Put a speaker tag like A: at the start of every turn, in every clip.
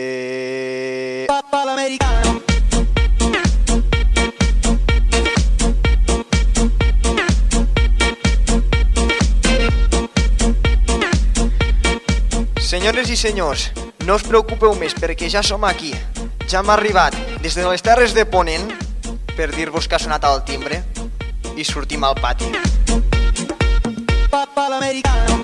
A: Eh... Papal americano. Senyores i senyors, no us preocupeu més perquè ja som aquí. Ja m'ha arribat des de les Terres de Ponent per dir-vos que ha sonat el timbre i sortim al pati. Papal americano.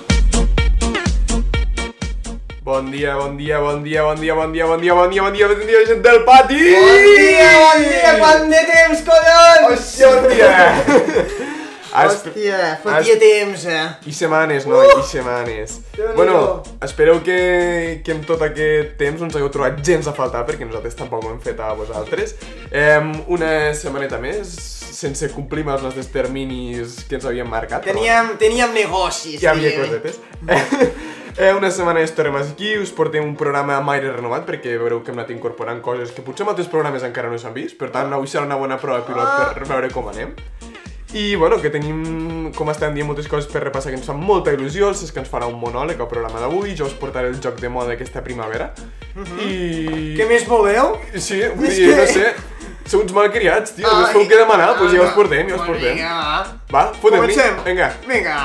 B: Bon dia, bon dia, bon dia, bon dia, bon dia, bon dia, bon dia, bon dia, bon dia, gent del pati!
A: Bon dia, bon dia, quant de temps, collons!
B: Hòstia, bon dia!
A: Hòstia, Uh! fotia temps, eh?
B: I setmanes, no? I setmanes.
A: Déu-n'hi-do.
B: Bueno, espereu que, que en tot aquest temps no ens hagueu trobat gens a faltar, perquè nosaltres tampoc ho hem fet a vosaltres. Em, una setmaneta més, sense complir amb els nostres terminis que ens havíem marcat. però
A: Teníem, teníem negocis,
B: Hi havia
A: diguem.
B: cosetes. Eh, una setmana més tornem aquí, us portem un programa gaire renovat perquè veureu que hem anat incorporant coses que potser en altres programes encara no s'han vist, per tant avui serà una bona prova pilot
A: Ah.
B: per veure com anem. I bueno, que tenim, com estem dient, moltes coses per repassar que ens fan molta il·lusió, el Cesc ens farà un monòleg al programa d'avui, jo us portaré el joc de moda aquesta primavera. I...
A: Mhm. Què més voleu?
B: Sí, vull dir,
A: que-
B: no sé, sou uns malcriats, tio,
A: Ah,
B: no feu què demanar, doncs ja us portem, ja us portem.
A: Vinga, va.
B: Va, fotem-hi.
A: Comencem.
B: Vinga.
A: Vinga.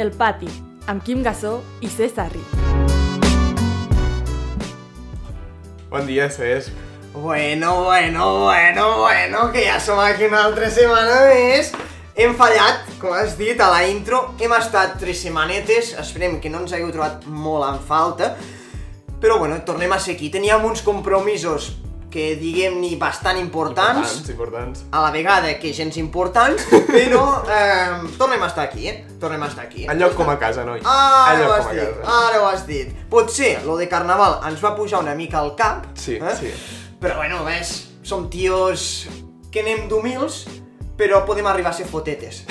C: El pati, amb Quim Gassó i César Ri.
B: Bon dia, Cesc.
A: Bueno, bueno, bueno, bueno, que ja som aquí una altra setmana més. Hem fallat, com has dit a la intro, hem estat tres setmanetes, esperem que no ens hagueu trobat molt en falta, però bueno, tornem a ser aquí. Teníem uns compromisos que diguem-ne bastant importants,
B: Importants, importants.
A: a la vegada que gens importants, però eh, tornem a estar aquí, eh? Tornem a estar aquí. Eh?
B: Allò com a casa, noi.
A: Ara
B: Allò
A: Ah, ho has
B: com a
A: dit,
B: casa.
A: ara ho has dit. Potser lo de carnaval ens va pujar una mica al cap,
B: Sí, sí.
A: però bueno, ves, som tios que anem d'humils, però podem arribar a ser fotetes.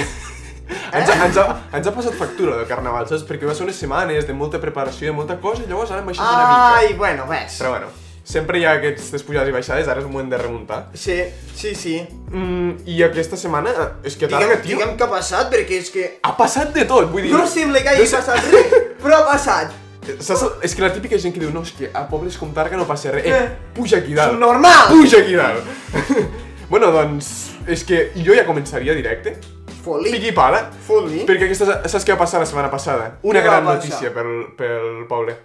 B: Ens, ha, ens, ha, ens ha passat factura del carnaval, saps? Perquè va ser unes setmanes de molta preparació, de molta cosa, i llavors ara hem baixat una mica.
A: Ai, bueno, ves.
B: Però bueno, sempre hi ha aquestes pujades i baixades, ara és un moment de remuntar.
A: Sí, sí, sí.
B: Mm, I aquesta setmana, eh, és que
A: Diguem,
B: tarda, tio,
A: diguem què ha passat, perquè és que...
B: ha passat de tot, vull dir...
A: No sembla que hagi
B: sé-
A: passat res, però ha passat.
B: Saps? És que la típica gent que diu, no, és que a pobles com Targa no passa res. Eh,
A: Eh,
B: puja aquí dalt.
A: subnormal.
B: Puja aquí dalt. bueno, doncs, és que jo ja començaria directe.
A: Foli.
B: Piqui pala.
A: Foli.
B: Perquè aquesta, saps què va passar la setmana passada? Una
A: Què va
B: gran
A: passar?
B: notícia pel, pel poble.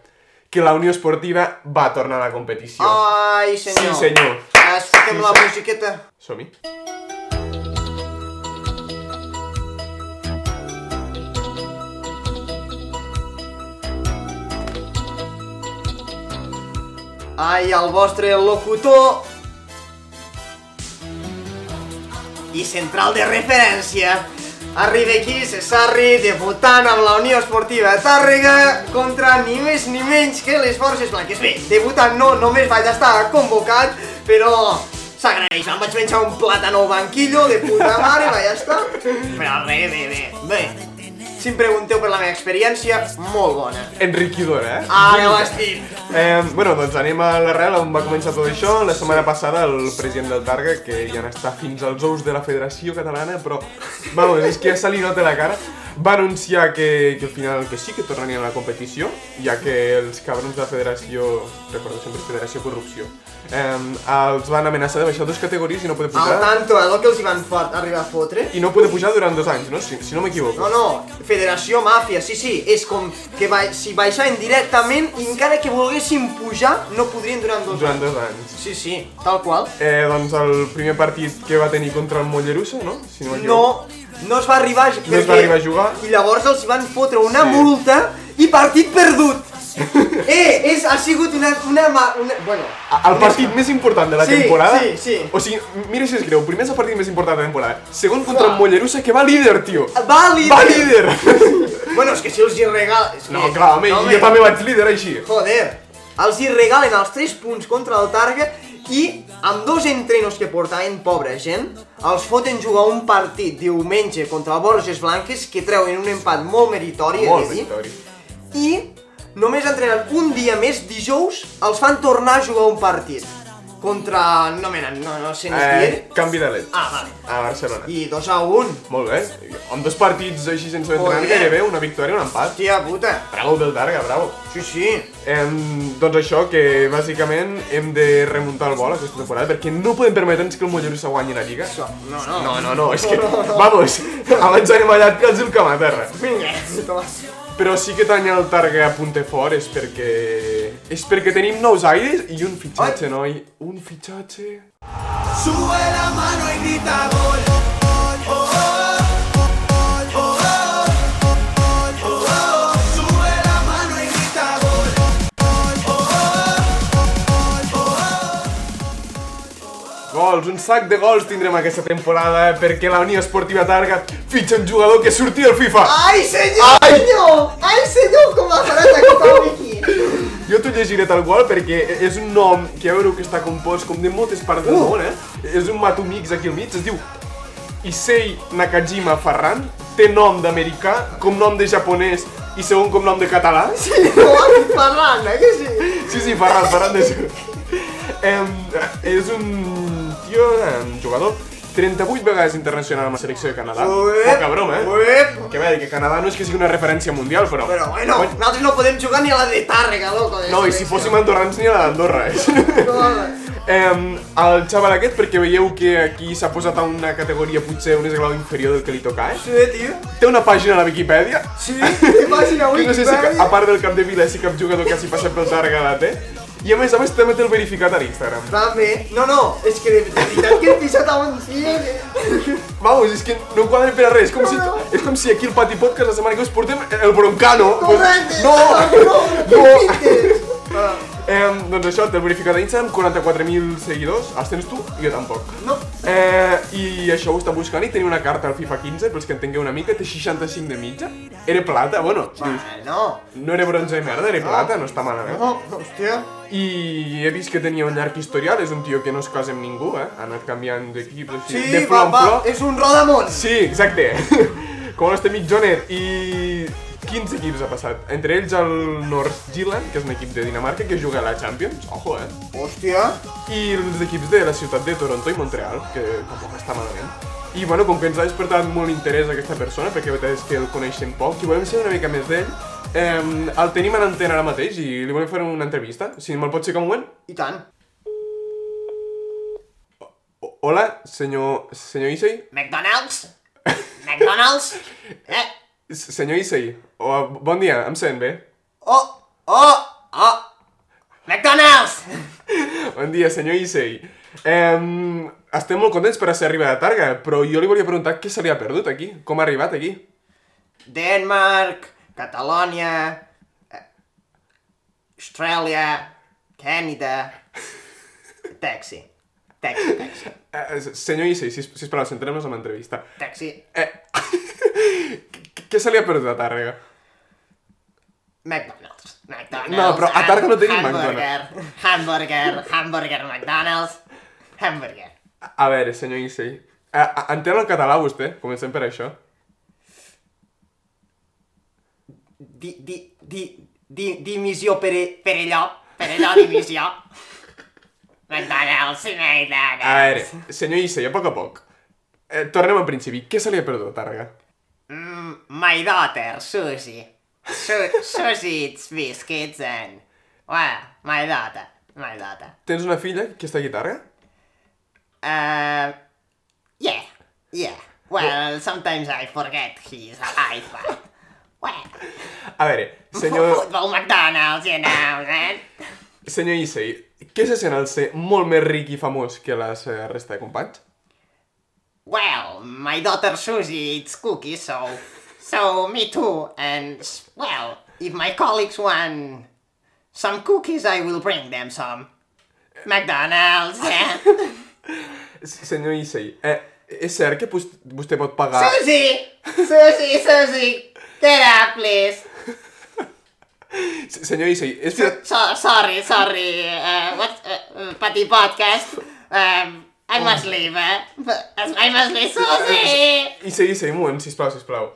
B: Que la Unió Esportiva va tornar a la competició.
A: Ai, Ah, senyor.
B: Sí, senyor.
A: Es fotem
B: Sí,
A: la
B: senyor.
A: musiqueta.
B: Som-hi.
A: Ai, el vostre locutor i central de referència. Arriba aquí Cesarri, debutant amb la Unió Esportiva Tàrrega contra ni més ni menys que les Forces Blanques. Bé, debutant no, només vaig estar convocat, però s'agraeix. Em vaig menjar un plàtano banquillo de puta mare, vaig estar. Però bé, bé, bé. Bé, si em pregunteu per la meva experiència, molt bona.
B: Enriquidora, eh?
A: Ara ho has dit.
B: Eh, bueno, doncs anem a l'arrel on va començar tot això. La setmana passada el president del Targa, que ja n'està fins als ous de la Federació Catalana, però, vamos, és que ja se li nota la cara, va anunciar que, que al final que sí, que tornarien a la competició, ja que els cabrons de la Federació, recordo sempre Federació Corrupció, eh, els van amenaçar de baixar dos categories i no poder
A: Al
B: pujar,
A: tanto, eh, el que els hi van fort- arribar a fotre.
B: i no poder pujar durant dos anys, no? Si, si no m'equivoco.
A: No, no, Federació Màfia, sí, sí, és com que ba si baixaven directament i encara que volguessin pujar no podrien durant dos
B: Durant
A: anys.
B: dos anys.
A: Sí, sí, tal qual.
B: Eh, doncs el primer partit que va tenir contra el Mollerussa, no? Si no, m'equivoco.
A: No, no es va arribar a,
B: No es va arribar a jugar.
A: I llavors els van fotre una
B: Sí.
A: multa i partit perdut. eh, és, ha sigut una... una, ma- una bueno,
B: Ah, El partit més important de la
A: Sí,
B: temporada?
A: sí, sí.
B: O sigui, mira si és greu, primer és el partit més important de la temporada, segon contra
A: Fuà.
B: el Mollerussa, que va líder, tio.
A: va líder.
B: Va líder!
A: Bueno, és que si els hi regala... és
B: No,
A: que-
B: clar, home,
A: no,
B: jo també vaig líder així.
A: Joder, els hi regalen els 3 punts contra el Targa i amb dos entrenos que portaven pobra gent, els foten jugar un partit diumenge contra el Borges Blanques que treuen un empat molt meritori, he
B: Molt
A: de dir,
B: victori.
A: i només entrenen un dia més dijous, els fan tornar a jugar un partit. Contra... no menen, no, no sé ni qui
B: Eh,
A: era.
B: canvi de led.
A: Ah, vale.
B: A Barcelona.
A: I 2 a 1.
B: Molt bé. Amb dos partits així sense entrenar,
A: Molt bé.
B: gairebé una victòria, un empat.
A: Hòstia puta.
B: Bravo, Beldarga, bravo.
A: Sí, sí.
B: Em, doncs això, que bàsicament hem de remuntar el vol aquesta temporada perquè no podem permetre'ns que el Mollerussa guanyi la Lliga.
A: Això. No, no.
B: No, no, no, és que, vamos, abans anem allà que els el camp a terra.
A: Vinga, toma.
B: Però sí que tenir el Targa a punte fort és perquè... És perquè tenim nous aires i un fitxatge, noi. Un fitxatge...
D: Sube la mano y grita gol. Sube la mano y grita gol.
B: Gols, un sac de gols tindrem aquesta temporada eh, perquè la Unió Esportiva Targa fitxa un jugador que surti del FIFA.
A: Ai, senyor! Ai, senyor! Ai, senyor, com la faràs aquesta wiki!
B: Jo t'ho llegiré tal qual perquè e-, és un nom que ja veureu que està compost com de moltes parts del
A: Uh!
B: món, eh? És un matumix aquí al mig, es diu Issei Nakajima Ferran, té nom d'americà, com nom de japonès i segon com nom de català.
A: Sí, no, Ferran, eh, que sí?
B: Sí, sí, Ferran, Ferran de Sur. Em, és un tio, un jugador, 38 vegades internacional amb la selecció de Canadà.
A: Uep,
B: Poca broma, eh?
A: uep.
B: Que bé, que Canadà no és que sigui una referència mundial, però...
A: Però bueno,
B: Cony,
A: nosaltres no podem jugar ni a la de Tàrrega, loco. de
B: No, i si
A: selecció.
B: fóssim andorrans ni a la d'Andorra, eh?
A: No, home.
B: Em, el xaval aquest, perquè veieu que aquí s'ha posat a una categoria potser un esglau inferior del que li toca, eh?
A: Sí, tio.
B: Té una pàgina a la Viquipèdia,
A: Sí, té pàgina
B: que no sé si
A: Wikipedia.
B: ca- a part del cap de vila si cap jugador que hagi passat pel Targa la té. I a més a més també té el verificat a l'Instagram.
A: Va bé. No, no, és que de, de veritat que he pisat a un dia que...
B: Vamos, és que no quadra per a res. Com si, és com si aquí al Pati Podcast la setmana que us portem el broncano.
A: Correcte!
B: No!
A: No!
B: No!
A: no. Ah,
B: Eh, doncs això, té el verificat a Instagram, 44.000 seguidors. Els tens tu? Jo tampoc.
A: No.
B: Eh, I això ho està buscant i tenia una carta al FIFA 15, pels que entengueu una mica, té 65 de mitja. Era plata, bueno, dius,
A: Va, no.
B: no era bronze de merda, era plata, no està malament.
A: No, hòstia.
B: I he vist que tenia un llarg historial, és un tio que no es casa amb ningú, eh? Ha anat canviant d'equips, o
A: Sí,
B: sigui, de
A: va,
B: flor en
A: va,
B: flor.
A: és un rodamont.
B: Sí, exacte. Com el nostre amic Jonet. I 15 equips ha passat. Entre ells el North Zealand, que és un equip de Dinamarca que juga a la Champions. Ojo, eh?
A: Hòstia.
B: I els equips de la ciutat de Toronto i Montreal, que tampoc està malament. I bueno, com que ens ha despertat molt interès aquesta persona, perquè la veritat és que el coneixem poc i volem ser una mica més d'ell, eh, el tenim a l'antena ara mateix i li volem fer una entrevista. Si me'l pot ficar un moment.
A: I tant.
B: O- Hola, senyor... senyor Issei?
A: McDonald's? McDonald's? Eh?
B: S- Senyor Issei, oh, bon dia, em sent bé?
A: Oh, oh, oh. McDonald's!
B: Bon dia, senyor Issei. Um, estem molt contents per ser arribat a Targa, però jo li volia preguntar què se li ha perdut aquí, com ha arribat aquí.
A: Denmark, Catalònia, eh, Austràlia, Canadà, taxi. Taxi, taxi,
B: Eh, s- senyor Issei, sis, sisplau, centrem-nos en l'entrevista.
A: taxi.
B: Eh, qu- què se li ha perdut a Tàrrega?
A: McDonald's. McDonald's.
B: No, però a Targa no tenim
A: McDonald's. Hamburger, hamburger, McDonald's, hamburger.
B: A, a veure, senyor Issei, eh, eh, entén el català vostè? Comencem per això.
A: Di, di, di, di, dimissió per, per allò, per allò dimissió. McDonald's,
B: A
A: McDonald's.
B: veure, senyor Issei, a poc a poc. Eh, tornem al principi. Què se li ha perdut a Tàrrega?
A: Mm, my daughter, Susie. Su- Susie eats biscuits and... Well, my daughter. My daughter.
B: Tens una filla que està aquí a Tàrrega?
A: Uh, yeah. Yeah. Well, sometimes I forget he's alive, but... Well,
B: A veure, senyor,
A: football McDonald's, you know, man.
B: senyor Issei, què se sent al ser molt més ric i famós que la seva resta de companys?
A: Well, my daughter Susie eats cookies, so... So, me too, and... Well, if my colleagues want some cookies, I will bring them some. McDonald's, yeah.
B: S- Senyor Issei, eh, és cert que pus- vostè pot pagar...
A: Susie! Susie, Susie! Get up, please!
B: S- Senyor Issei, és veritat...
A: So, sorry, sorry. Uh, what? Uh, Patty podcast. Um, I must leave, eh? I must leave, Susie!
B: Issei, Issei, un moment, sisplau, sisplau.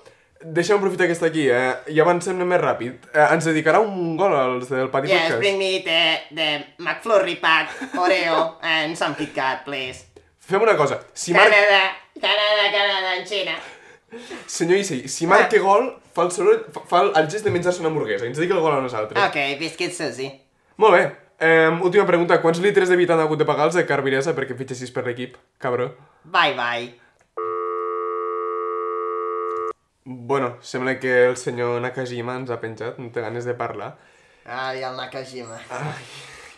B: Deixa'm aprofitar que està aquí, eh? I avancem-ne més ràpid. Eh, ens dedicarà un gol als del Pati
A: Yes,
B: Podcast.
A: bring me the, the McFlurry pack, Oreo, and some Kit Kat, please.
B: Fem una cosa. Si marca...
A: Canadà, Canadà, Canadà, en Xina.
B: Senyor Issei, si marca gol, fa el, soroll, fa- fa el, el gest de menjar-se una hamburguesa. i Ens dedica el gol a nosaltres.
A: Ok, Biscuit Susie.
B: Molt bé. Eh, última pregunta. Quants litres de vi t'han hagut de pagar els de Carviresa perquè fitxessis per l'equip, cabró?
A: Bye bye.
B: Bueno, sembla que el senyor Nakajima ens ha penjat, no té ganes de parlar.
A: Ai, el Nakajima.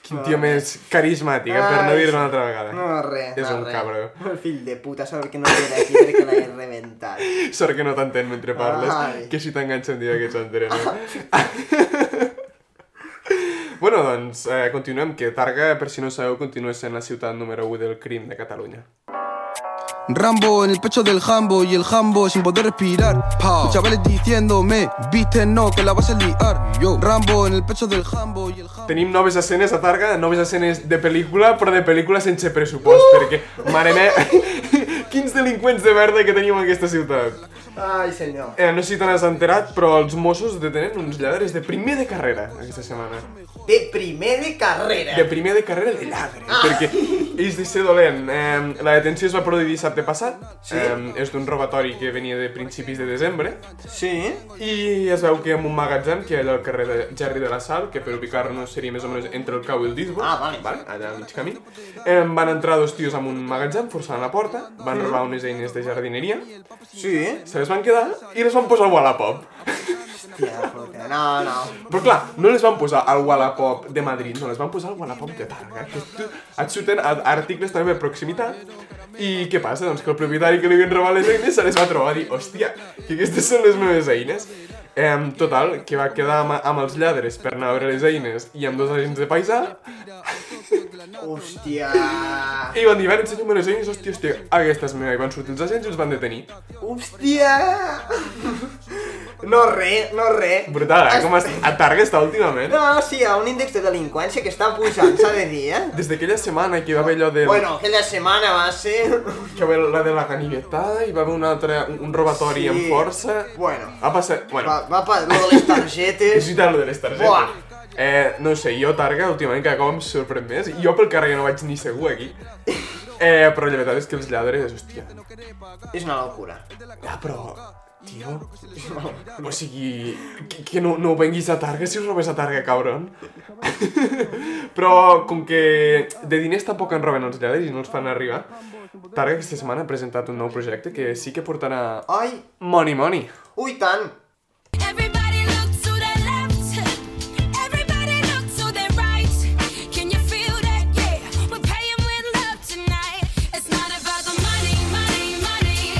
B: Quin tio més carismàtic, eh, per
A: Ah.
B: no
A: Ai,
B: dir-ho
A: sí.
B: una altra vegada.
A: No, res,
B: És
A: no,
B: un
A: res.
B: cabró.
A: El fill de puta, sort que no era aquí perquè l'he reventat.
B: Sort que no t'entén mentre parles,
A: Ai.
B: que si t'enganxa un dia que s'entenen. bueno, doncs, eh, continuem, que Targa, per si no sabeu, continua sent la ciutat número 1 del crim de Catalunya.
E: Rambo en el pecho del Jambo y el Jambo sin poder respirar. Los chavales diciéndome, viste no, que la vas a liar. Yo. Rambo en el pecho del Jambo y el Jambo.
B: Tenim noves escenes a Targa, noves escenes de pel·lícula, però de pel·lícula sense pressupost, perquè, mare meva, quins delinqüents de merda que tenim en aquesta ciutat.
A: Ai, senyor.
B: Eh, no sé si te n'has enterat, però els Mossos detenen uns lladres de primer de carrera aquesta setmana.
A: De primer de carrera.
B: De primer de carrera de lladre,
A: Ah.
B: perquè és de ser dolent. Eh, la detenció es va produir dissabte passat, sí? eh, és d'un robatori que venia de principis de desembre,
A: Sí?
B: i es veu que en un magatzem que hi ha allà al carrer de Gerri de la Sal, que per ubicar-nos seria més o menys entre el cau i el disbo,
A: Ah, vale.
B: vale allà al mig camí, eh, van entrar dos tios en un magatzem forçant la porta,
A: Mm.
B: van robar unes eines de jardineria,
A: Sí?
B: se les van quedar i les van posar al Wallapop.
A: Hòstia puta, no, no.
B: Però clar, no les van posar al Wallapop de Madrid, no, les van posar al Wallapop de Targa, que tu, et surten a- articles també de proximitat, i què passa? Doncs que el propietari que li havien robat les eines se les va trobar i dir, hòstia, que aquestes són les meves eines. Em, total, que va quedar amb, amb els lladres per anar a veure les eines i amb dos agents de paisà
A: Hòstia.
B: i van dir, va, ensenya'm les eines, hòstia, hòstia, aquesta és meva. I van sortir els agents i els van detenir.
A: Hòstia. No re, no re.
B: Brutal, eh? Com es, a Targa està últimament.
A: No, sí, hi ha un índex de delinqüència que està pujant, s'ha de dir, eh?
B: Des d'aquella setmana que hi va haver allò del...
A: Bueno, aquella setmana va ser...
B: Que va haver la de la ganivetada, hi va haver un altre, un, un robatori
A: Sí.
B: amb força.
A: Bueno.
B: Ha passat... Bueno,
A: Va, va per lo de les
B: és
A: targetes...
B: veritat, lo de les targetes.
A: Buah.
B: Eh, no ho sé, jo Targa últimament cada cop em sorprèn més. Jo pel carrer no vaig ni segur aquí. Eh, però la veritat és que els lladres, hòstia...
A: És una locura. Ah,
B: Ja, però... Tio... O sigui... Que, que no, no venguis a Targa si us robes a Targa, cabron. però com que de diners tampoc en roben els lladres i no els fan arribar, Targa aquesta setmana ha presentat un nou projecte que sí que portarà
A: Ai,
B: Money, money.
A: ui tant!
F: Everybody look to their left. Everybody look to their right. Can you feel that? Yeah, we're paying with love tonight. It's not about the money, money, money.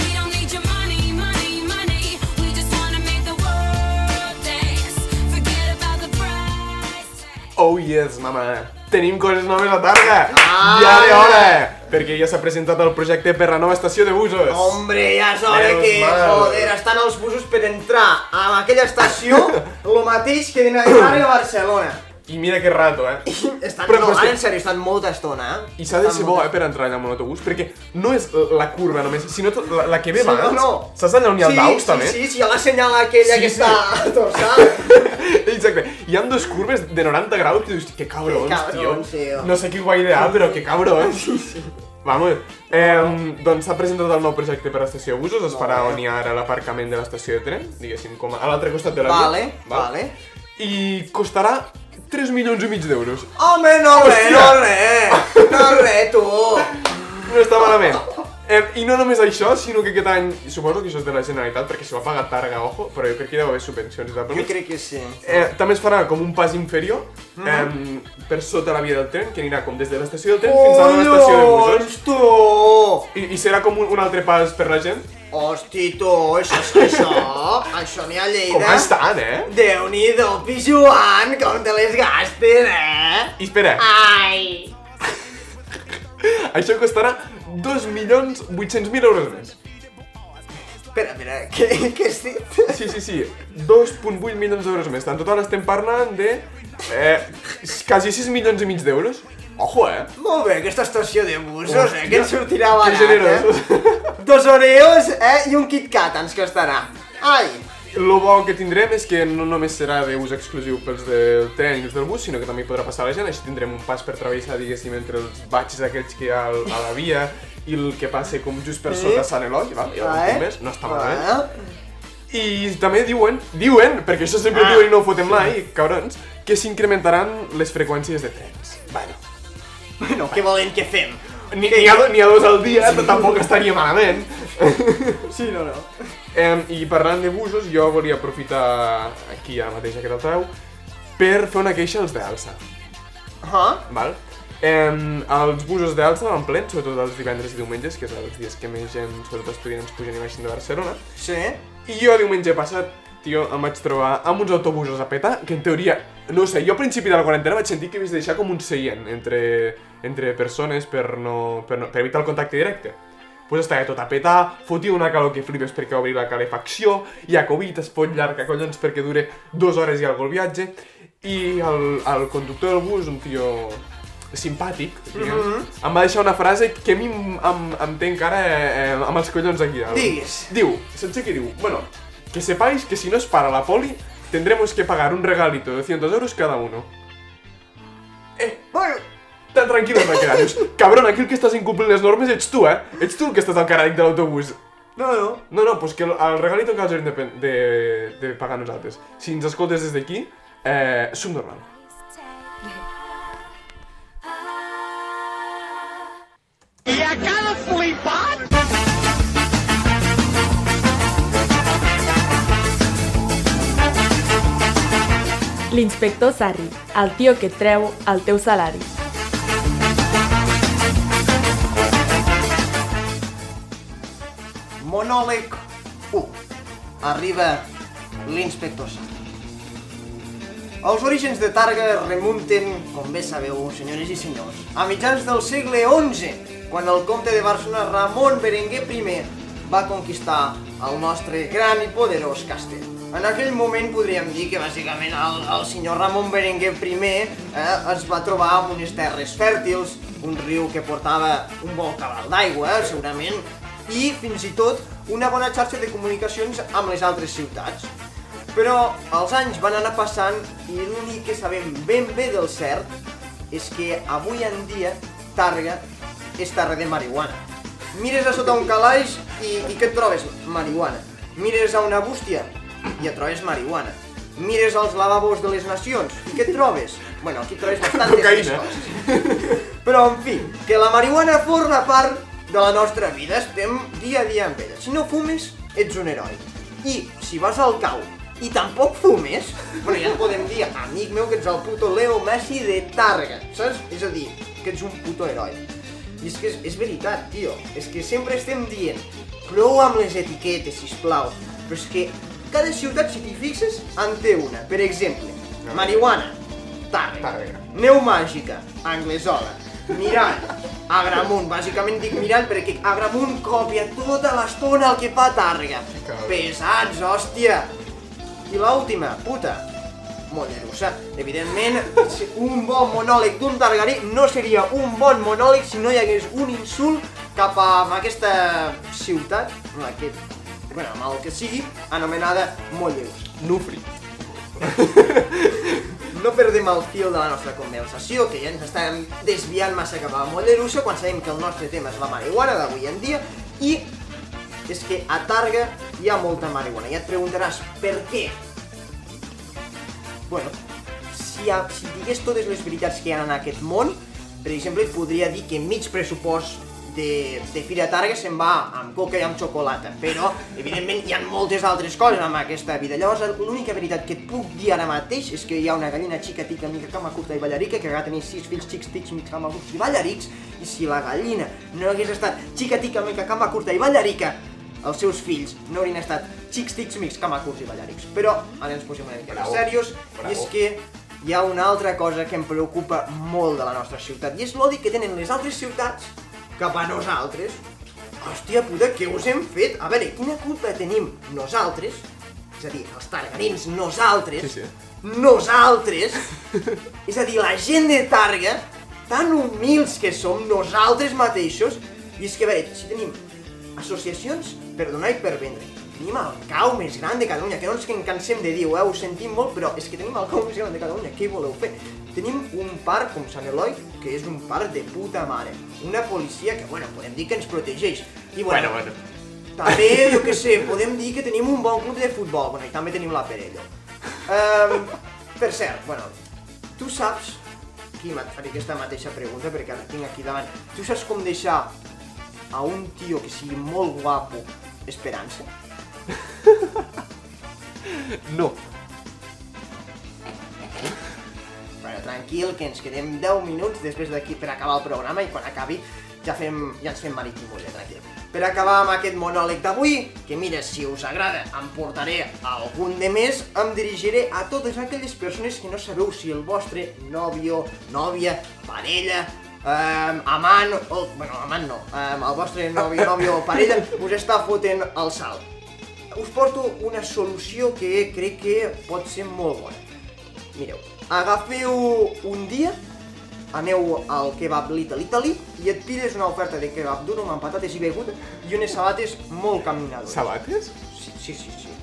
F: We don't need your money, money, money. We just wanna make the world dance. Forget about the price tag.
B: Oh yes, mama. Tenim coses noves a Targa.
A: Ah!
B: Ja era hora. Perquè ja s'ha presentat el projecte per la nova estació de busos.
A: Hombre, ja és hora
B: Menos
A: que,
B: mal.
A: joder, estan els busos per entrar a aquella estació lo mateix que d'entrar a Barcelona.
B: I mira que rato, eh?
A: Estan,
B: Però,
A: no,
B: però és
A: ara
B: que-
A: en sèrio, estan molta estona, eh?
B: I s'ha de
A: Estan
B: ser bo,
A: molta-
B: eh, per entrar allà amb un autobús, perquè no és la curva només, sinó tot la, la que ve
A: Sí,
B: abans.
A: no, no.
B: Saps allà on hi ha el
A: sí,
B: daus,
A: sí,
B: també?
A: Sí, sí, ja la senyala aquella
B: Sí,
A: que
B: sí.
A: està torçada.
B: Exacte. Hi ha dues curves de 90 graus que dius, que cabrons,
A: Que cabrons,
B: tio.
A: tio.
B: No sé qui ho va idear, però que cabrons. Sí, sí. Vamos. Eh, doncs s'ha presentat el nou projecte per a l'estació de busos, es farà on hi ha ara l'aparcament de l'estació de tren, diguéssim, com a l'altre costat de la via.
A: Vale, vale.
B: I costarà 3 milions i mig d'euros.
A: Home, no re,
B: Hòstia.
A: no re, no re, tu.
B: No està malament. Eh, I no només això, sinó que aquest any, suposo que això és de la Generalitat, perquè s'ho va pagar Targa, ojo, però jo crec que hi deu haver subvencions i tal.
A: Jo
B: Però...
A: crec que sí.
B: Eh, també es farà com un pas inferior, eh, per sota la via del tren, que anirà com des de l'estació del tren fins a l'estació de busos.
A: Collons, tu!
B: I, I serà com un, un altre pas per la gent.
A: Hosti, tu, això és això, això n'hi ha a Lleida.
B: Com ha estat, eh?
A: Déu-n'hi-do, Pijuan, com te les gastes, eh?
B: I espera,
F: Aye.
B: això costarà 2.800.000 euros més.
A: Espera, espera, què, què has dit?
B: Sí, sí, sí, 2.8 milions d'euros més. En total estem parlant de eh, quasi 6 milions i mig d'euros. Ojo, eh?
A: Molt bé, aquesta estació de busos, eh,
B: Hòstia,
A: que et sortirà
B: que
A: barat,
B: generós.
A: eh? Dos oreos, eh, i un Kit Kat ens costarà. Ai,
B: Lo bo que tindrem és que no només serà d'ús exclusiu pels del tren i els del bus, sinó que també hi podrà passar la gent, així tindrem un pas per travessar, diguéssim, entre els batxes aquests que hi ha al- a la via i el que passa com just per
A: Sí.
B: sota Sant Eloi, val? Ja
A: Ah,
B: un
A: eh?
B: punt més, no està malament.
A: va.
B: I també diuen, diuen, perquè això sempre
A: Ah.
B: ah, diuen i no ho fotem mai, cabrons, que s'incrementaran les freqüències de trens. Bueno,
A: Bueno, què volen que fem?
B: ni, ni, ha, ni ha dos al dia, tampoc estaria malament.
A: Sí, no, no.
B: Em, I parlant de busos, jo volia aprofitar aquí ara mateix aquest altaveu per fer una queixa als d'Alsa,
A: Ah,
B: val? Em, els busos d'Alsa van plens, sobretot els divendres i diumenges, que és els dies que més gent, sobretot estudiants, pugen i baixen de Barcelona.
A: sí.
B: I jo diumenge passat, tio, em vaig trobar amb uns autobusos a peta, que en teoria, no ho sé, jo al principi de la quarantena vaig sentir que havies de deixar com un seient entre, entre persones per, no, per, no, per evitar el contacte directe. Pues estava tot a petar, fotia una calor que flipes perquè obri la calefacció, hi ha Covid, es fot llarg a collons perquè dure dues hores i algo el viatge, i el, el conductor del bus, un tio simpàtic, diguem, em va deixar una frase que a mi em, em, em té encara eh, eh, amb els collons aquí dalt.
A: Digues.
B: Diu, sense que diu, bueno, que sepáis que si no es para la poli, tendremos que pagar un regalito de 200 euros cada uno.
A: Bueno,
B: Tan tranquil·los va quedar. Dius, cabron, aquí el que estàs incomplint les normes ets tu, eh? Ets tu el que estàs al carall de l'autobús.
A: no, no.
B: No, no, pues que el, el regalito que els hem de, pen- de, de pagar nosaltres. Si ens escoltes des d'aquí, eh, subnormal.
C: L'inspector Sarri, el tio que et treu el teu salari.
A: Monòleg 1. Arriba l'inspector Sarri. Els orígens de Targa es remunten, com bé sabeu, senyores i senyors, a mitjans del segle XI, quan el comte de Barcelona Ramon Berenguer I va conquistar el nostre gran i poderós castell. En aquell moment podríem dir que bàsicament el, el senyor Ramon Berenguer I eh, es va trobar amb unes terres fèrtils, un riu que portava un bon cabal d'aigua, eh, segurament, i fins i tot una bona xarxa de comunicacions amb les altres ciutats. Però els anys van anar passant i l'únic que sabem ben bé del cert és que avui en dia Targa és terra de marihuana. Mires a sota un calaix i, i què et trobes? Marihuana. Mires a una bústia i et trobes marihuana. Mires als lavabos de les nacions i què et trobes? Bueno, aquí trobes bastantes més
B: Cocaïna.
A: coses. Però, en fi, que la marihuana forma part de la nostra vida, estem dia a dia amb ella. Si no fumes, ets un heroi. I si vas al cau i tampoc fumes, bueno, ja et podem dir, amic meu, que ets el puto Leo Messi de Targa, saps? És a dir, que ets un puto heroi. I és que és, és veritat, tio, és que sempre estem dient, prou amb les etiquetes, sisplau, però és que cada ciutat, si t'hi fixes, en té una. Per exemple, marihuana, Tàrrega.
B: Tàrrega.
A: Neumàgica, Anglesola, Mirall, Agramunt, bàsicament dic Mirall perquè Agramunt copia tota l'estona el que fa Tàrrega.
B: Cabrón.
A: Pesats, hòstia! I l'última, puta, Mollerussa. Evidentment, si un bon monòleg d'un targarí no seria un bon monòleg si no hi hagués un insult cap a amb aquesta ciutat, amb aquest, bueno, amb el que sigui, anomenada Mollerussa.
B: Nufri.
A: No perdem el fil de la nostra conversació, que ja ens estàvem desviant massa cap a la Mollerussa quan sabem que el nostre tema és la marihuana d'avui en dia i és que a Targa hi ha molta marihuana. Ja et preguntaràs per què. Bueno, si, a, si digués totes les veritats que hi ha en aquest món, per exemple, et podria dir que mig pressupost de, de Fira Targa se'n va amb coca i amb xocolata, però, evidentment, hi ha moltes altres coses amb aquesta vida. Llavors, l'única veritat que et puc dir ara mateix és que hi ha una gallina xica, tica, mica, cama curta i ballarica, que va tenir sis fills xics, tics, mica, cama curta i ballarics, i si la gallina no hagués estat xica, tica, mica, cama curta i ballarica, els seus fills no haurien estat xics, tics, mics, cama curts i ballarics. Però ara ens posem una mica més serios i és que hi ha una altra cosa que em preocupa molt de la nostra ciutat i és l'odi que tenen les altres ciutats cap a nosaltres. Hòstia puta, què us hem fet? A veure, quina culpa tenim nosaltres, és a dir, els targarins, nosaltres,
B: Sí, sí.
A: nosaltres, és a dir, la gent de Targa, tan humils que som nosaltres mateixos, i és que, a veure, si tenim associacions per donar i per vendre, Tenim el cau més gran de Catalunya, que no ens que en cansem de dir, eh? ho sentim molt, però és que tenim el cau més gran de Catalunya, què hi voleu fer? Tenim un parc com Sant Eloi, que és un parc de puta mare. Una policia que, bueno, podem dir que ens protegeix. I
B: Bueno, bueno.
A: també, jo què sé, podem dir que tenim un bon club de futbol. Bueno, i també tenim la Perello. Um, per cert, bueno, tu saps... Quim, et faré aquesta mateixa pregunta perquè la tinc aquí davant. Tu saps com deixar a un tio que sigui molt guapo esperança?
B: No.
A: Bueno, tranquil, que ens quedem 10 minuts després d'aquí per acabar el programa i quan acabi ja, fem, ja ens fem marit i muller, tranquil. Per acabar amb aquest monòleg d'avui, que mira, si us agrada, em portaré a algun de més, em dirigiré a totes aquelles persones que no sabeu si el vostre nòvio, nòvia, parella, eh, amant, o... bueno, amant no, eh, el vostre nòvio, nòvio o parella us està fotent el salt. Us porto una solució que crec que pot ser molt bona. Mireu, agafeu un dia, aneu al kebab Little Italy i et pides una oferta de kebab duro amb patates i begut i unes sabates molt caminadores.
B: Sabates?
A: Sí, sí, sí, sí.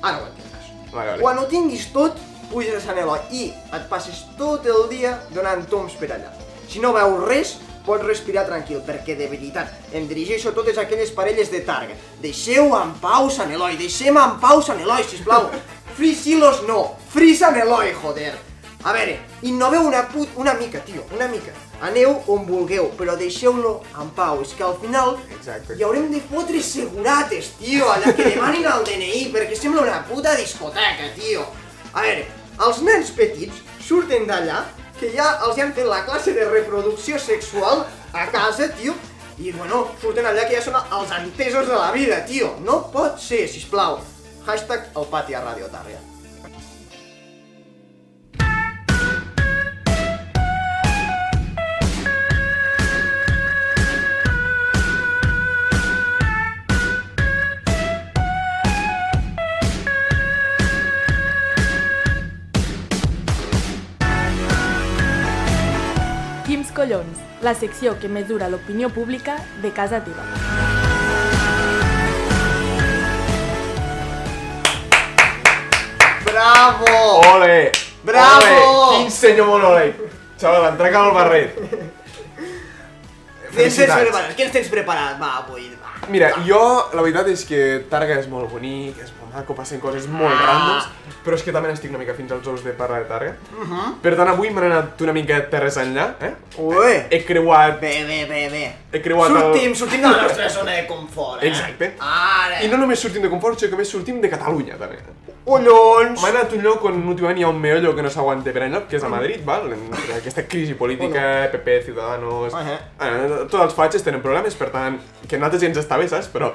A: Ara ho entendràs.
B: Vale, vale.
A: Quan ho tinguis tot, puges a Sant Eloi i et passes tot el dia donant toms per allà. Si no veus res, pots respirar tranquil, perquè de veritat em dirigeixo a totes aquelles parelles de Targa. Deixeu en pau Sant Eloi, deixem en pau Sant Eloi, sisplau. Free Silos no, Free Sant Eloi, joder. A veure, innoveu una put... una mica, tio, una mica. Aneu on vulgueu, però deixeu-lo en pau. És que al final
B: Exacte.
A: hi haurem de fotre segurates, tio, allà que demanin el DNI, perquè sembla una puta discoteca, tio. A veure, els nens petits surten d'allà, que ja els hi han fet la classe de reproducció sexual a casa, tio, i bueno, surten allà que ja són els entesos de la vida, tio. No pot ser, sisplau. Hashtag el pati a Radio Tàrrega.
C: Quims Collons, la secció que mesura l'opinió pública de casa teva.
A: Bravo!
B: Ole!
A: Bravo!
B: Ole! Quin senyor monòleg! Xaval, entrega amb el barret.
A: Tens tens
B: Felicitats.
A: preparat? Què ens tens preparat? Va, avui, va.
B: Mira,
A: va.
B: jo, la veritat és que Targa és molt bonic, és molt maco, passen coses molt
A: Ah.
B: randoms, però és que també n'estic una mica fins als ous de parlar de Targa.
A: Uh-huh.
B: Per tant, avui m'he anat una mica terres enllà, eh?
A: Ué!
B: He creuat...
A: Bé, bé, bé, bé.
B: He creuat el-
A: sortim, sortim de la nostra zona de confort, eh?
B: Exacte.
A: Ara.
B: I no només sortim de confort, sinó que més sortim de Catalunya, també.
A: Collons!
B: M'ha anat un lloc on últimament hi ha un meollo que no s'aguanta per enlloc, que és a Madrid, val? Entre aquesta crisi política, PP, Ciudadanos...
A: Ahà.
B: Eh, tots els fatxes tenen problemes, per tant, que a nosaltres ja ens està bé, saps? Però,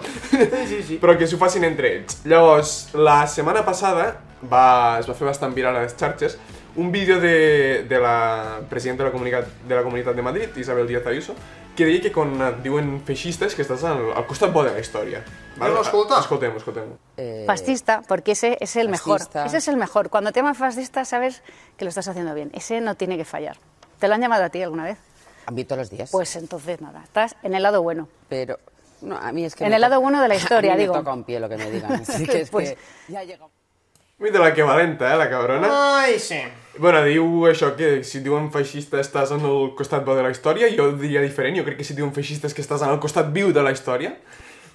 A: sí, sí.
B: però que s'ho facin entre ells. Llavors, la setmana passada va, es va fer bastant viral a les xarxes un vídeo de, de la presidenta de la, comunitat, de la Comunitat de Madrid, Isabel Díaz Ayuso, que deia que quan et diuen feixistes que estàs al, al costat bo de la història. Val?
A: Anem a escoltar?
B: Escoltem, escoltem.
G: Fascista, porque ese es el
H: fascista.
G: mejor. Ese es el mejor. Cuando te llaman fascista, sabes que lo estás haciendo bien. Ese no tiene que fallar. ¿Te lo han llamado a ti alguna vez?
H: A mí todos los días.
G: Pues entonces nada, estás en el lado bueno.
H: pero no, a mí es que
G: En
H: me
G: el lado
H: toca-
G: bueno de la historia,
H: a mí
G: digo.
H: Me toca un pie lo que me digan. Así que es
G: Pues-
H: que ya llega.
B: Mira la que valenta, eh, la
A: Ah,
B: cabrona.
A: Ai, sí.
B: Bueno, diu això que si diuen feixista estàs en el costat bo de la història, jo diria diferent, jo crec que si diuen feixista és que estàs en el costat viu de la història,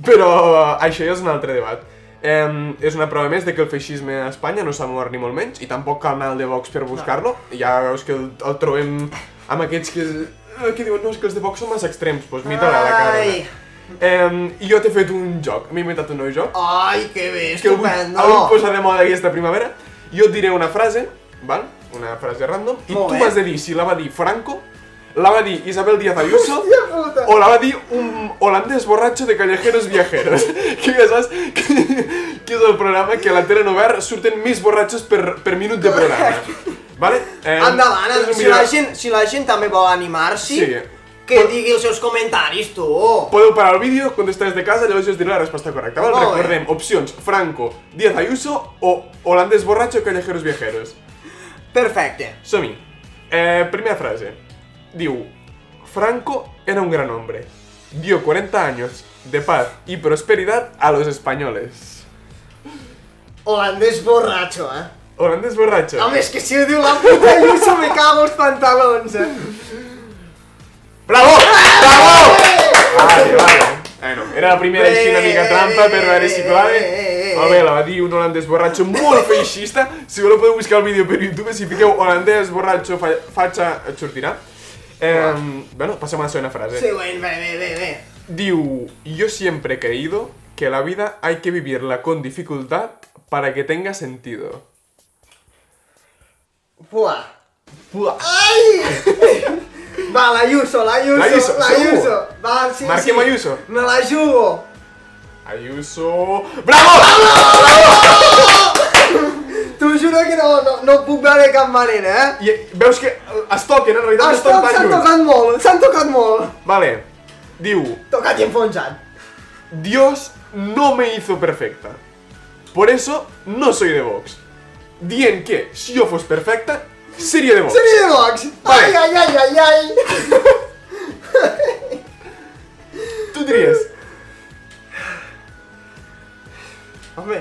B: però eh, això ja és un altre debat. Um, és una prova més de que el feixisme a Espanya no s'ha mort ni molt menys, i tampoc cal anar al de Vox per buscar-lo, ja veus que el, el trobem amb aquests que, eh, que diuen no, és que els de Vox són massa extrems, doncs mita-la la
A: Ai.
B: cara. Um, I jo t'he fet un joc, m'he inventat un nou joc,
A: Ai, que bé,
B: que avui,
A: estupendo.
B: avui posa de moda aquesta primavera, jo et diré una frase, val? Una frase random, i
A: Molt
B: tu
A: bé.
B: m'has de dir si la va dir Franco, la va dir Isabel Díaz Ayuso,
A: puta.
B: o la va dir un holandès borratxo de callejeros viajeros. que ja saps que, que és el programa que a la tele obert surten més borratxos per, per minut de programa. Vale? Eh,
A: Endavant,
B: és un
A: si
B: vídeo-
A: la, gent, si la gent també vol animar-s'hi,
B: Sí.
A: que
B: Pot-
A: digui els seus comentaris, tu.
B: Podeu parar el vídeo, contestar des de casa, llavors jo us diré la resposta correcta. Val?
A: Molt bé.
B: Recordem, opcions, Franco, Díaz Ayuso o holandès borratxo callejeros viajeros.
A: Perfecte.
B: Som-hi. Eh, primera frase. Diu, Franco era un gran hombre. Dio 40 años de paz y prosperidad a los españoles.
A: holandés borracho, eh?
B: Holandés borratxo.
A: Home, és que si ho diu la puta Ayuso me cago els pantalons, eh?
B: Bravo! Bravo! Vale, vale. Bueno, era la primera
A: Bé,
B: així una mica trampa per veure si clave.
A: bé.
B: Molt bé, la va dir un holandès borratxo molt feixista. Si voleu podeu buscar el vídeo per YouTube, si fiqueu holandès borratxo fa fatxa et sortirà. Eh, bueno, passem a la segona frase.
A: Sí, bueno, bé, bé, bé, bé.
B: Diu, yo siempre he creído que la vida hay que vivirla con dificultad para que tenga sentido.
A: Buah. Buah. Ai! Va, l'Ayuso, l'Ayuso,
B: L'Ayuso,
A: l'Ayuso.
B: segur?
A: Va, sí,
B: Marquem
A: sí.
B: Ayuso.
A: Me la jugo.
B: Ayuso... ¡Bravo!
A: T'ho juro que no, no, no ho puc veure de cap manera, eh?
B: I veus que eh, es toquen, en realitat
A: Els
B: es toquen
A: tocs
B: tan
A: s'han
B: lluny.
A: tocat molt, s'han tocat molt.
B: Vale. Diu,
A: Tocat i enfonsat.
B: Dios no me hizo perfecta. Por eso no soy de Vox. Dien que si yo fuese perfecta, sería de Vox.
A: Seria de Vox.
B: Vale.
A: Ai, ai, ai, ai, ai.
B: Tú dirías,
A: Home,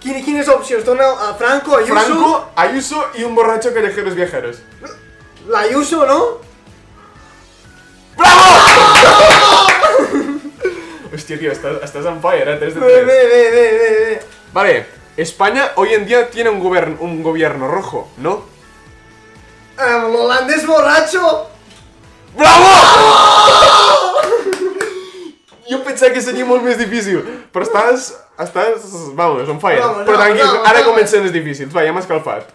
A: quine, quines opcions dona a ah, Franco, Ayuso?
B: Franco, Ayuso y un borracho callejeros viajeros.
A: L'Ayuso, no?
B: Hostia, tío, estás, estás on fire, eh? Tres de
A: Bé,
B: tres.
A: bé, bé, bé, bé, bé.
B: Vale, España hoy en día tiene un, gobern- un gobierno rojo, ¿no?
A: Eh, L'holandès borratxo.
B: ¡Bravo! Jo pensava que seria molt més difícil, però estàs... estàs... vamos, on fire.
A: Vamos, vamos,
B: però tranquil,
A: vamos,
B: ara
A: vamos.
B: comencen els difícils, va, ja m'has calfat.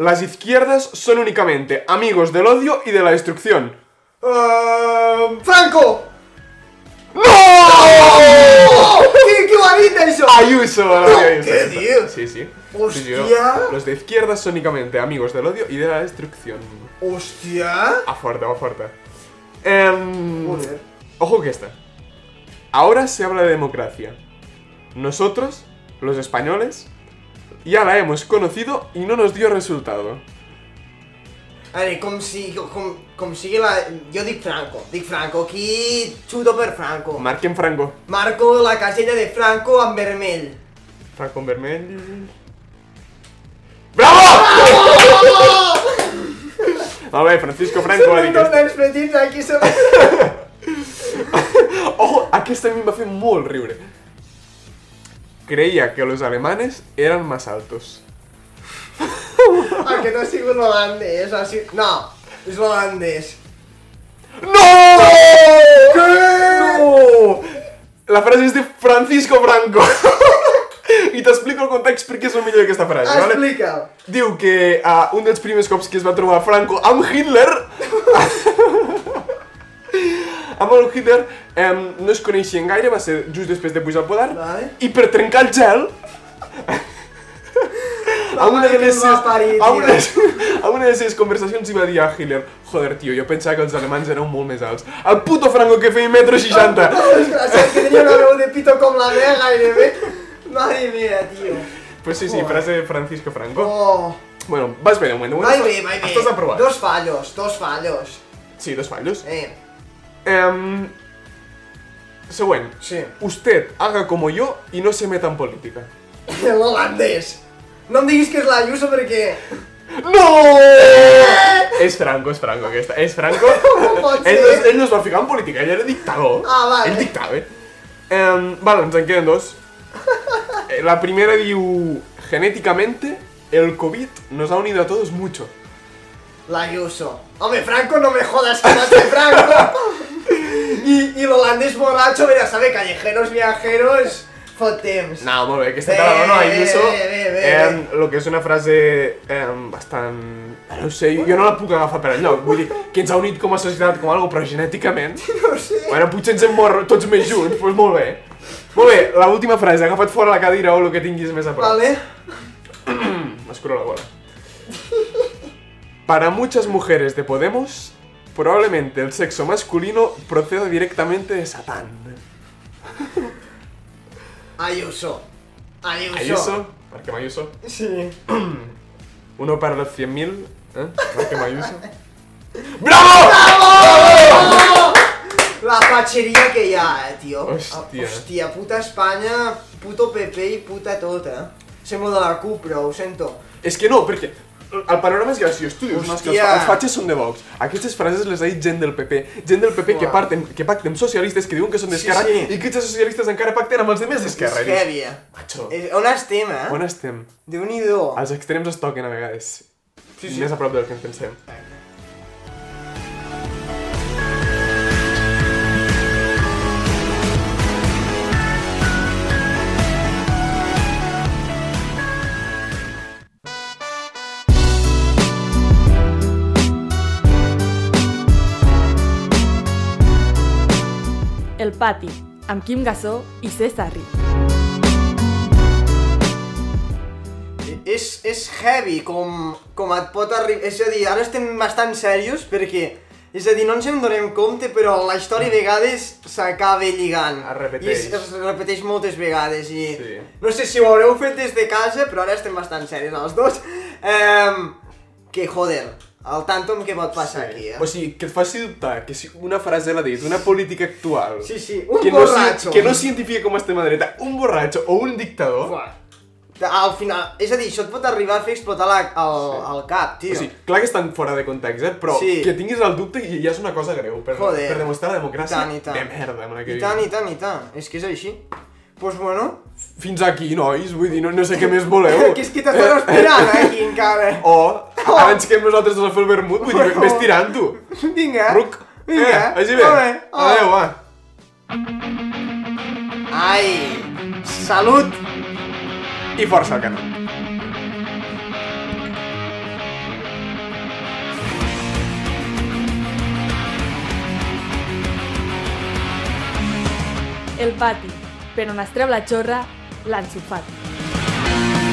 B: Las izquierdas son únicamente amigos del odio y de la destrucción.
A: Eh, Franco.
B: ¡No!
A: Oh, qui, qui ho ha dit, això?
B: Ayuso, la novia de Ayuso.
A: ¿Qué dios?
B: Sí, sí.
A: Hostia.
B: Sí, yo- Los de izquierdas son únicamente amigos del odio y de la destrucción.
A: Hòstia.
B: A fuerte, a fuerte. Em,
A: Joder.
B: Ojo que esta. Ahora se habla de democracia. Nosotros, los españoles, ya la hemos conocido y no nos dio resultado.
A: A veure, com si... Com, com sigui la... Jo dic Franco, dic Franco, aquí xuto per Franco.
B: Marquen Franco.
A: Marco la casella de Franco en vermell.
B: Franco en vermell. ¡Bravo! A ver, Francisco Franco ha
A: Són un
B: dit
A: dels
B: que-
A: nens petits aquí sobre...
B: Ojo, aquesta a mi em va fer molt riure. Creía que los alemanes eran más altos.
A: El que no ha sigut l'holandès, ha sigut... No, és l'holandès.
B: ¡No! ¡No! La frase es de Francisco Franco. I t'explico el context perquè és el millor d'aquesta frase,
A: Ah,
B: vale?
A: Explica'l.
B: Diu que uh, un dels primers cops que es va trobar Franco amb Hitler... amb el Hitler um, no es coneixien gaire, va ser just després de pujar al poder.
A: Vale.
B: I per trencar el gel... a una,
A: mare
B: de
A: que
B: les
A: em va
B: seves,
A: parir,
B: a, una,
A: tio.
B: de les- a una de les seves conversacions hi va dir a Hitler Joder, tio, jo pensava que els alemans eren molt més alts. El puto Franco que feia metro 60!
A: Desgraciat que tenia una veu de pito com la meva gairebé. Mare meva, tio.
B: Pues sí, sí, frase de Francisco Franco.
A: Oh.
B: Bueno, vas bé, de moment. de moment
A: Vai
B: estàs-
A: bé, vai bé.
B: Estàs aprovat.
A: Dos fallos, dos fallos.
B: Sí, dos fallos.
A: Eh,
B: Em, següent.
A: sí.
B: Usted haga como yo y no se meta en política.
A: L'holandès. No em diguis que és l'Ayuso perquè...
B: ¡No! És Franco, és Franco aquesta. És Franco.
A: Com pot ser?
B: ell, no, es- ell no es va ficar en política, ell era dictador.
A: Ah, vale.
B: Ell dictava. Um, vale, ens en queden dos. Eh, La primera diu... Genéticamente, el COVID nos ha unido a todos mucho.
A: L'Ayuso. Home, Franco, no me jodas que vas de Franco. I, i l'holandès borratxo, mira, sabe, callejeros, viajeros, fot temps.
B: No, molt bé, aquesta
A: Bé,
B: te la dono a
A: bé,
B: Ayuso.
A: bé, bé, bé.
B: Em, lo que és una frase em, bastant... eh, No ho sé, jo no la puc agafar per enlloc. Vull dir, que ens ha unit com a societat, com a algo, però genèticament...
A: No ho sé.
B: Bueno, potser ens hem mort tots més junts, doncs molt bé. Molt bé, l'última frase, agafa't fora la cadira o el que tinguis més a prop.
A: Vale.
B: M'escuro la bola. Para muchas mujeres de Podemos, probablemente el sexo masculino proceda directamente de Satán.
A: Ayuso. Ayuso.
B: Ayuso, marquem Ayuso.
A: Sí.
B: Uno para los 100.000, eh? Marquem Ayuso. ¡Bravo!
A: La fatxeria que hi ha, eh, tio.
B: Hòstia.
A: Hòstia, puta Espanya, puto PP i puta tot, eh. Semblo de la CUP, però ho sento.
B: És que no, perquè el panorama és graciós. Tu dius, "Hòstia,
A: Hòstia.
B: els fatxes són de Vox. Aquestes frases les ha dit gent del PP. Gent del PP que,
A: Uah.
B: parten, que pacten amb socialistes que diuen que són d'esquerra
A: Sí, sí.
B: i que aquests socialistes encara pacten amb els de més d'esquerra.
A: És
B: I dius,
A: heavy. eh.
B: Macho,
A: És- On estem, eh?
B: on estem?
A: Déu-n'hi-do.
B: Els extrems es toquen a vegades.
A: Ah, Sí, sí.
B: Més a prop del que en pensem.
C: El pati, amb Quim Gassó i César Ric.
A: és, és heavy com, com et pot arribar... És a dir, ara estem bastant serios perquè... És a dir, no ens en donem compte, però la història a vegades s'acaba lligant.
B: Es repeteix.
A: I es, es repeteix moltes vegades. I
B: Sí.
A: No sé si ho haureu fet des de casa, però ara estem bastant serios els dos. Um, que, joder, el tàntum que pot passar aquí, eh?
B: O sigui, que et faci dubtar que si una frase l'ha dit, una política actual...
A: Sí, sí, un
B: que
A: borratxo.
B: No, s'hi- que no s'identifica com a extrema dreta, un borratxo o un dictador...
A: Buah. Al final, és a dir, això et pot arribar a fer explotar la, el, el cap, tio.
B: O sigui, clar que estan fora de context, eh? però
A: Sí.
B: que tinguis el dubte i ja és una cosa greu per,
A: Joder.
B: per demostrar la
A: I
B: democràcia
A: tant, i tant.
B: de merda amb la
A: I
B: que vivim.
A: tant, i tant, i tant. És que és així. Pues bueno,
B: Fins aquí, nois, vull dir, no, no sé què més voleu.
A: que és que t'estan esperant eh, aquí encara.
B: O abans que nosaltres dos a fer el vermut, vull dir,
A: Oh.
B: vés tirant-ho.
A: Vinga.
B: Ruc.
A: Vinga. Oh.
B: Eh, vagi bé.
A: Ole, ole.
B: Adéu, va.
A: Ai, salut.
B: I força el canó.
C: El pati, per on es treu la xorra, l'ensofat.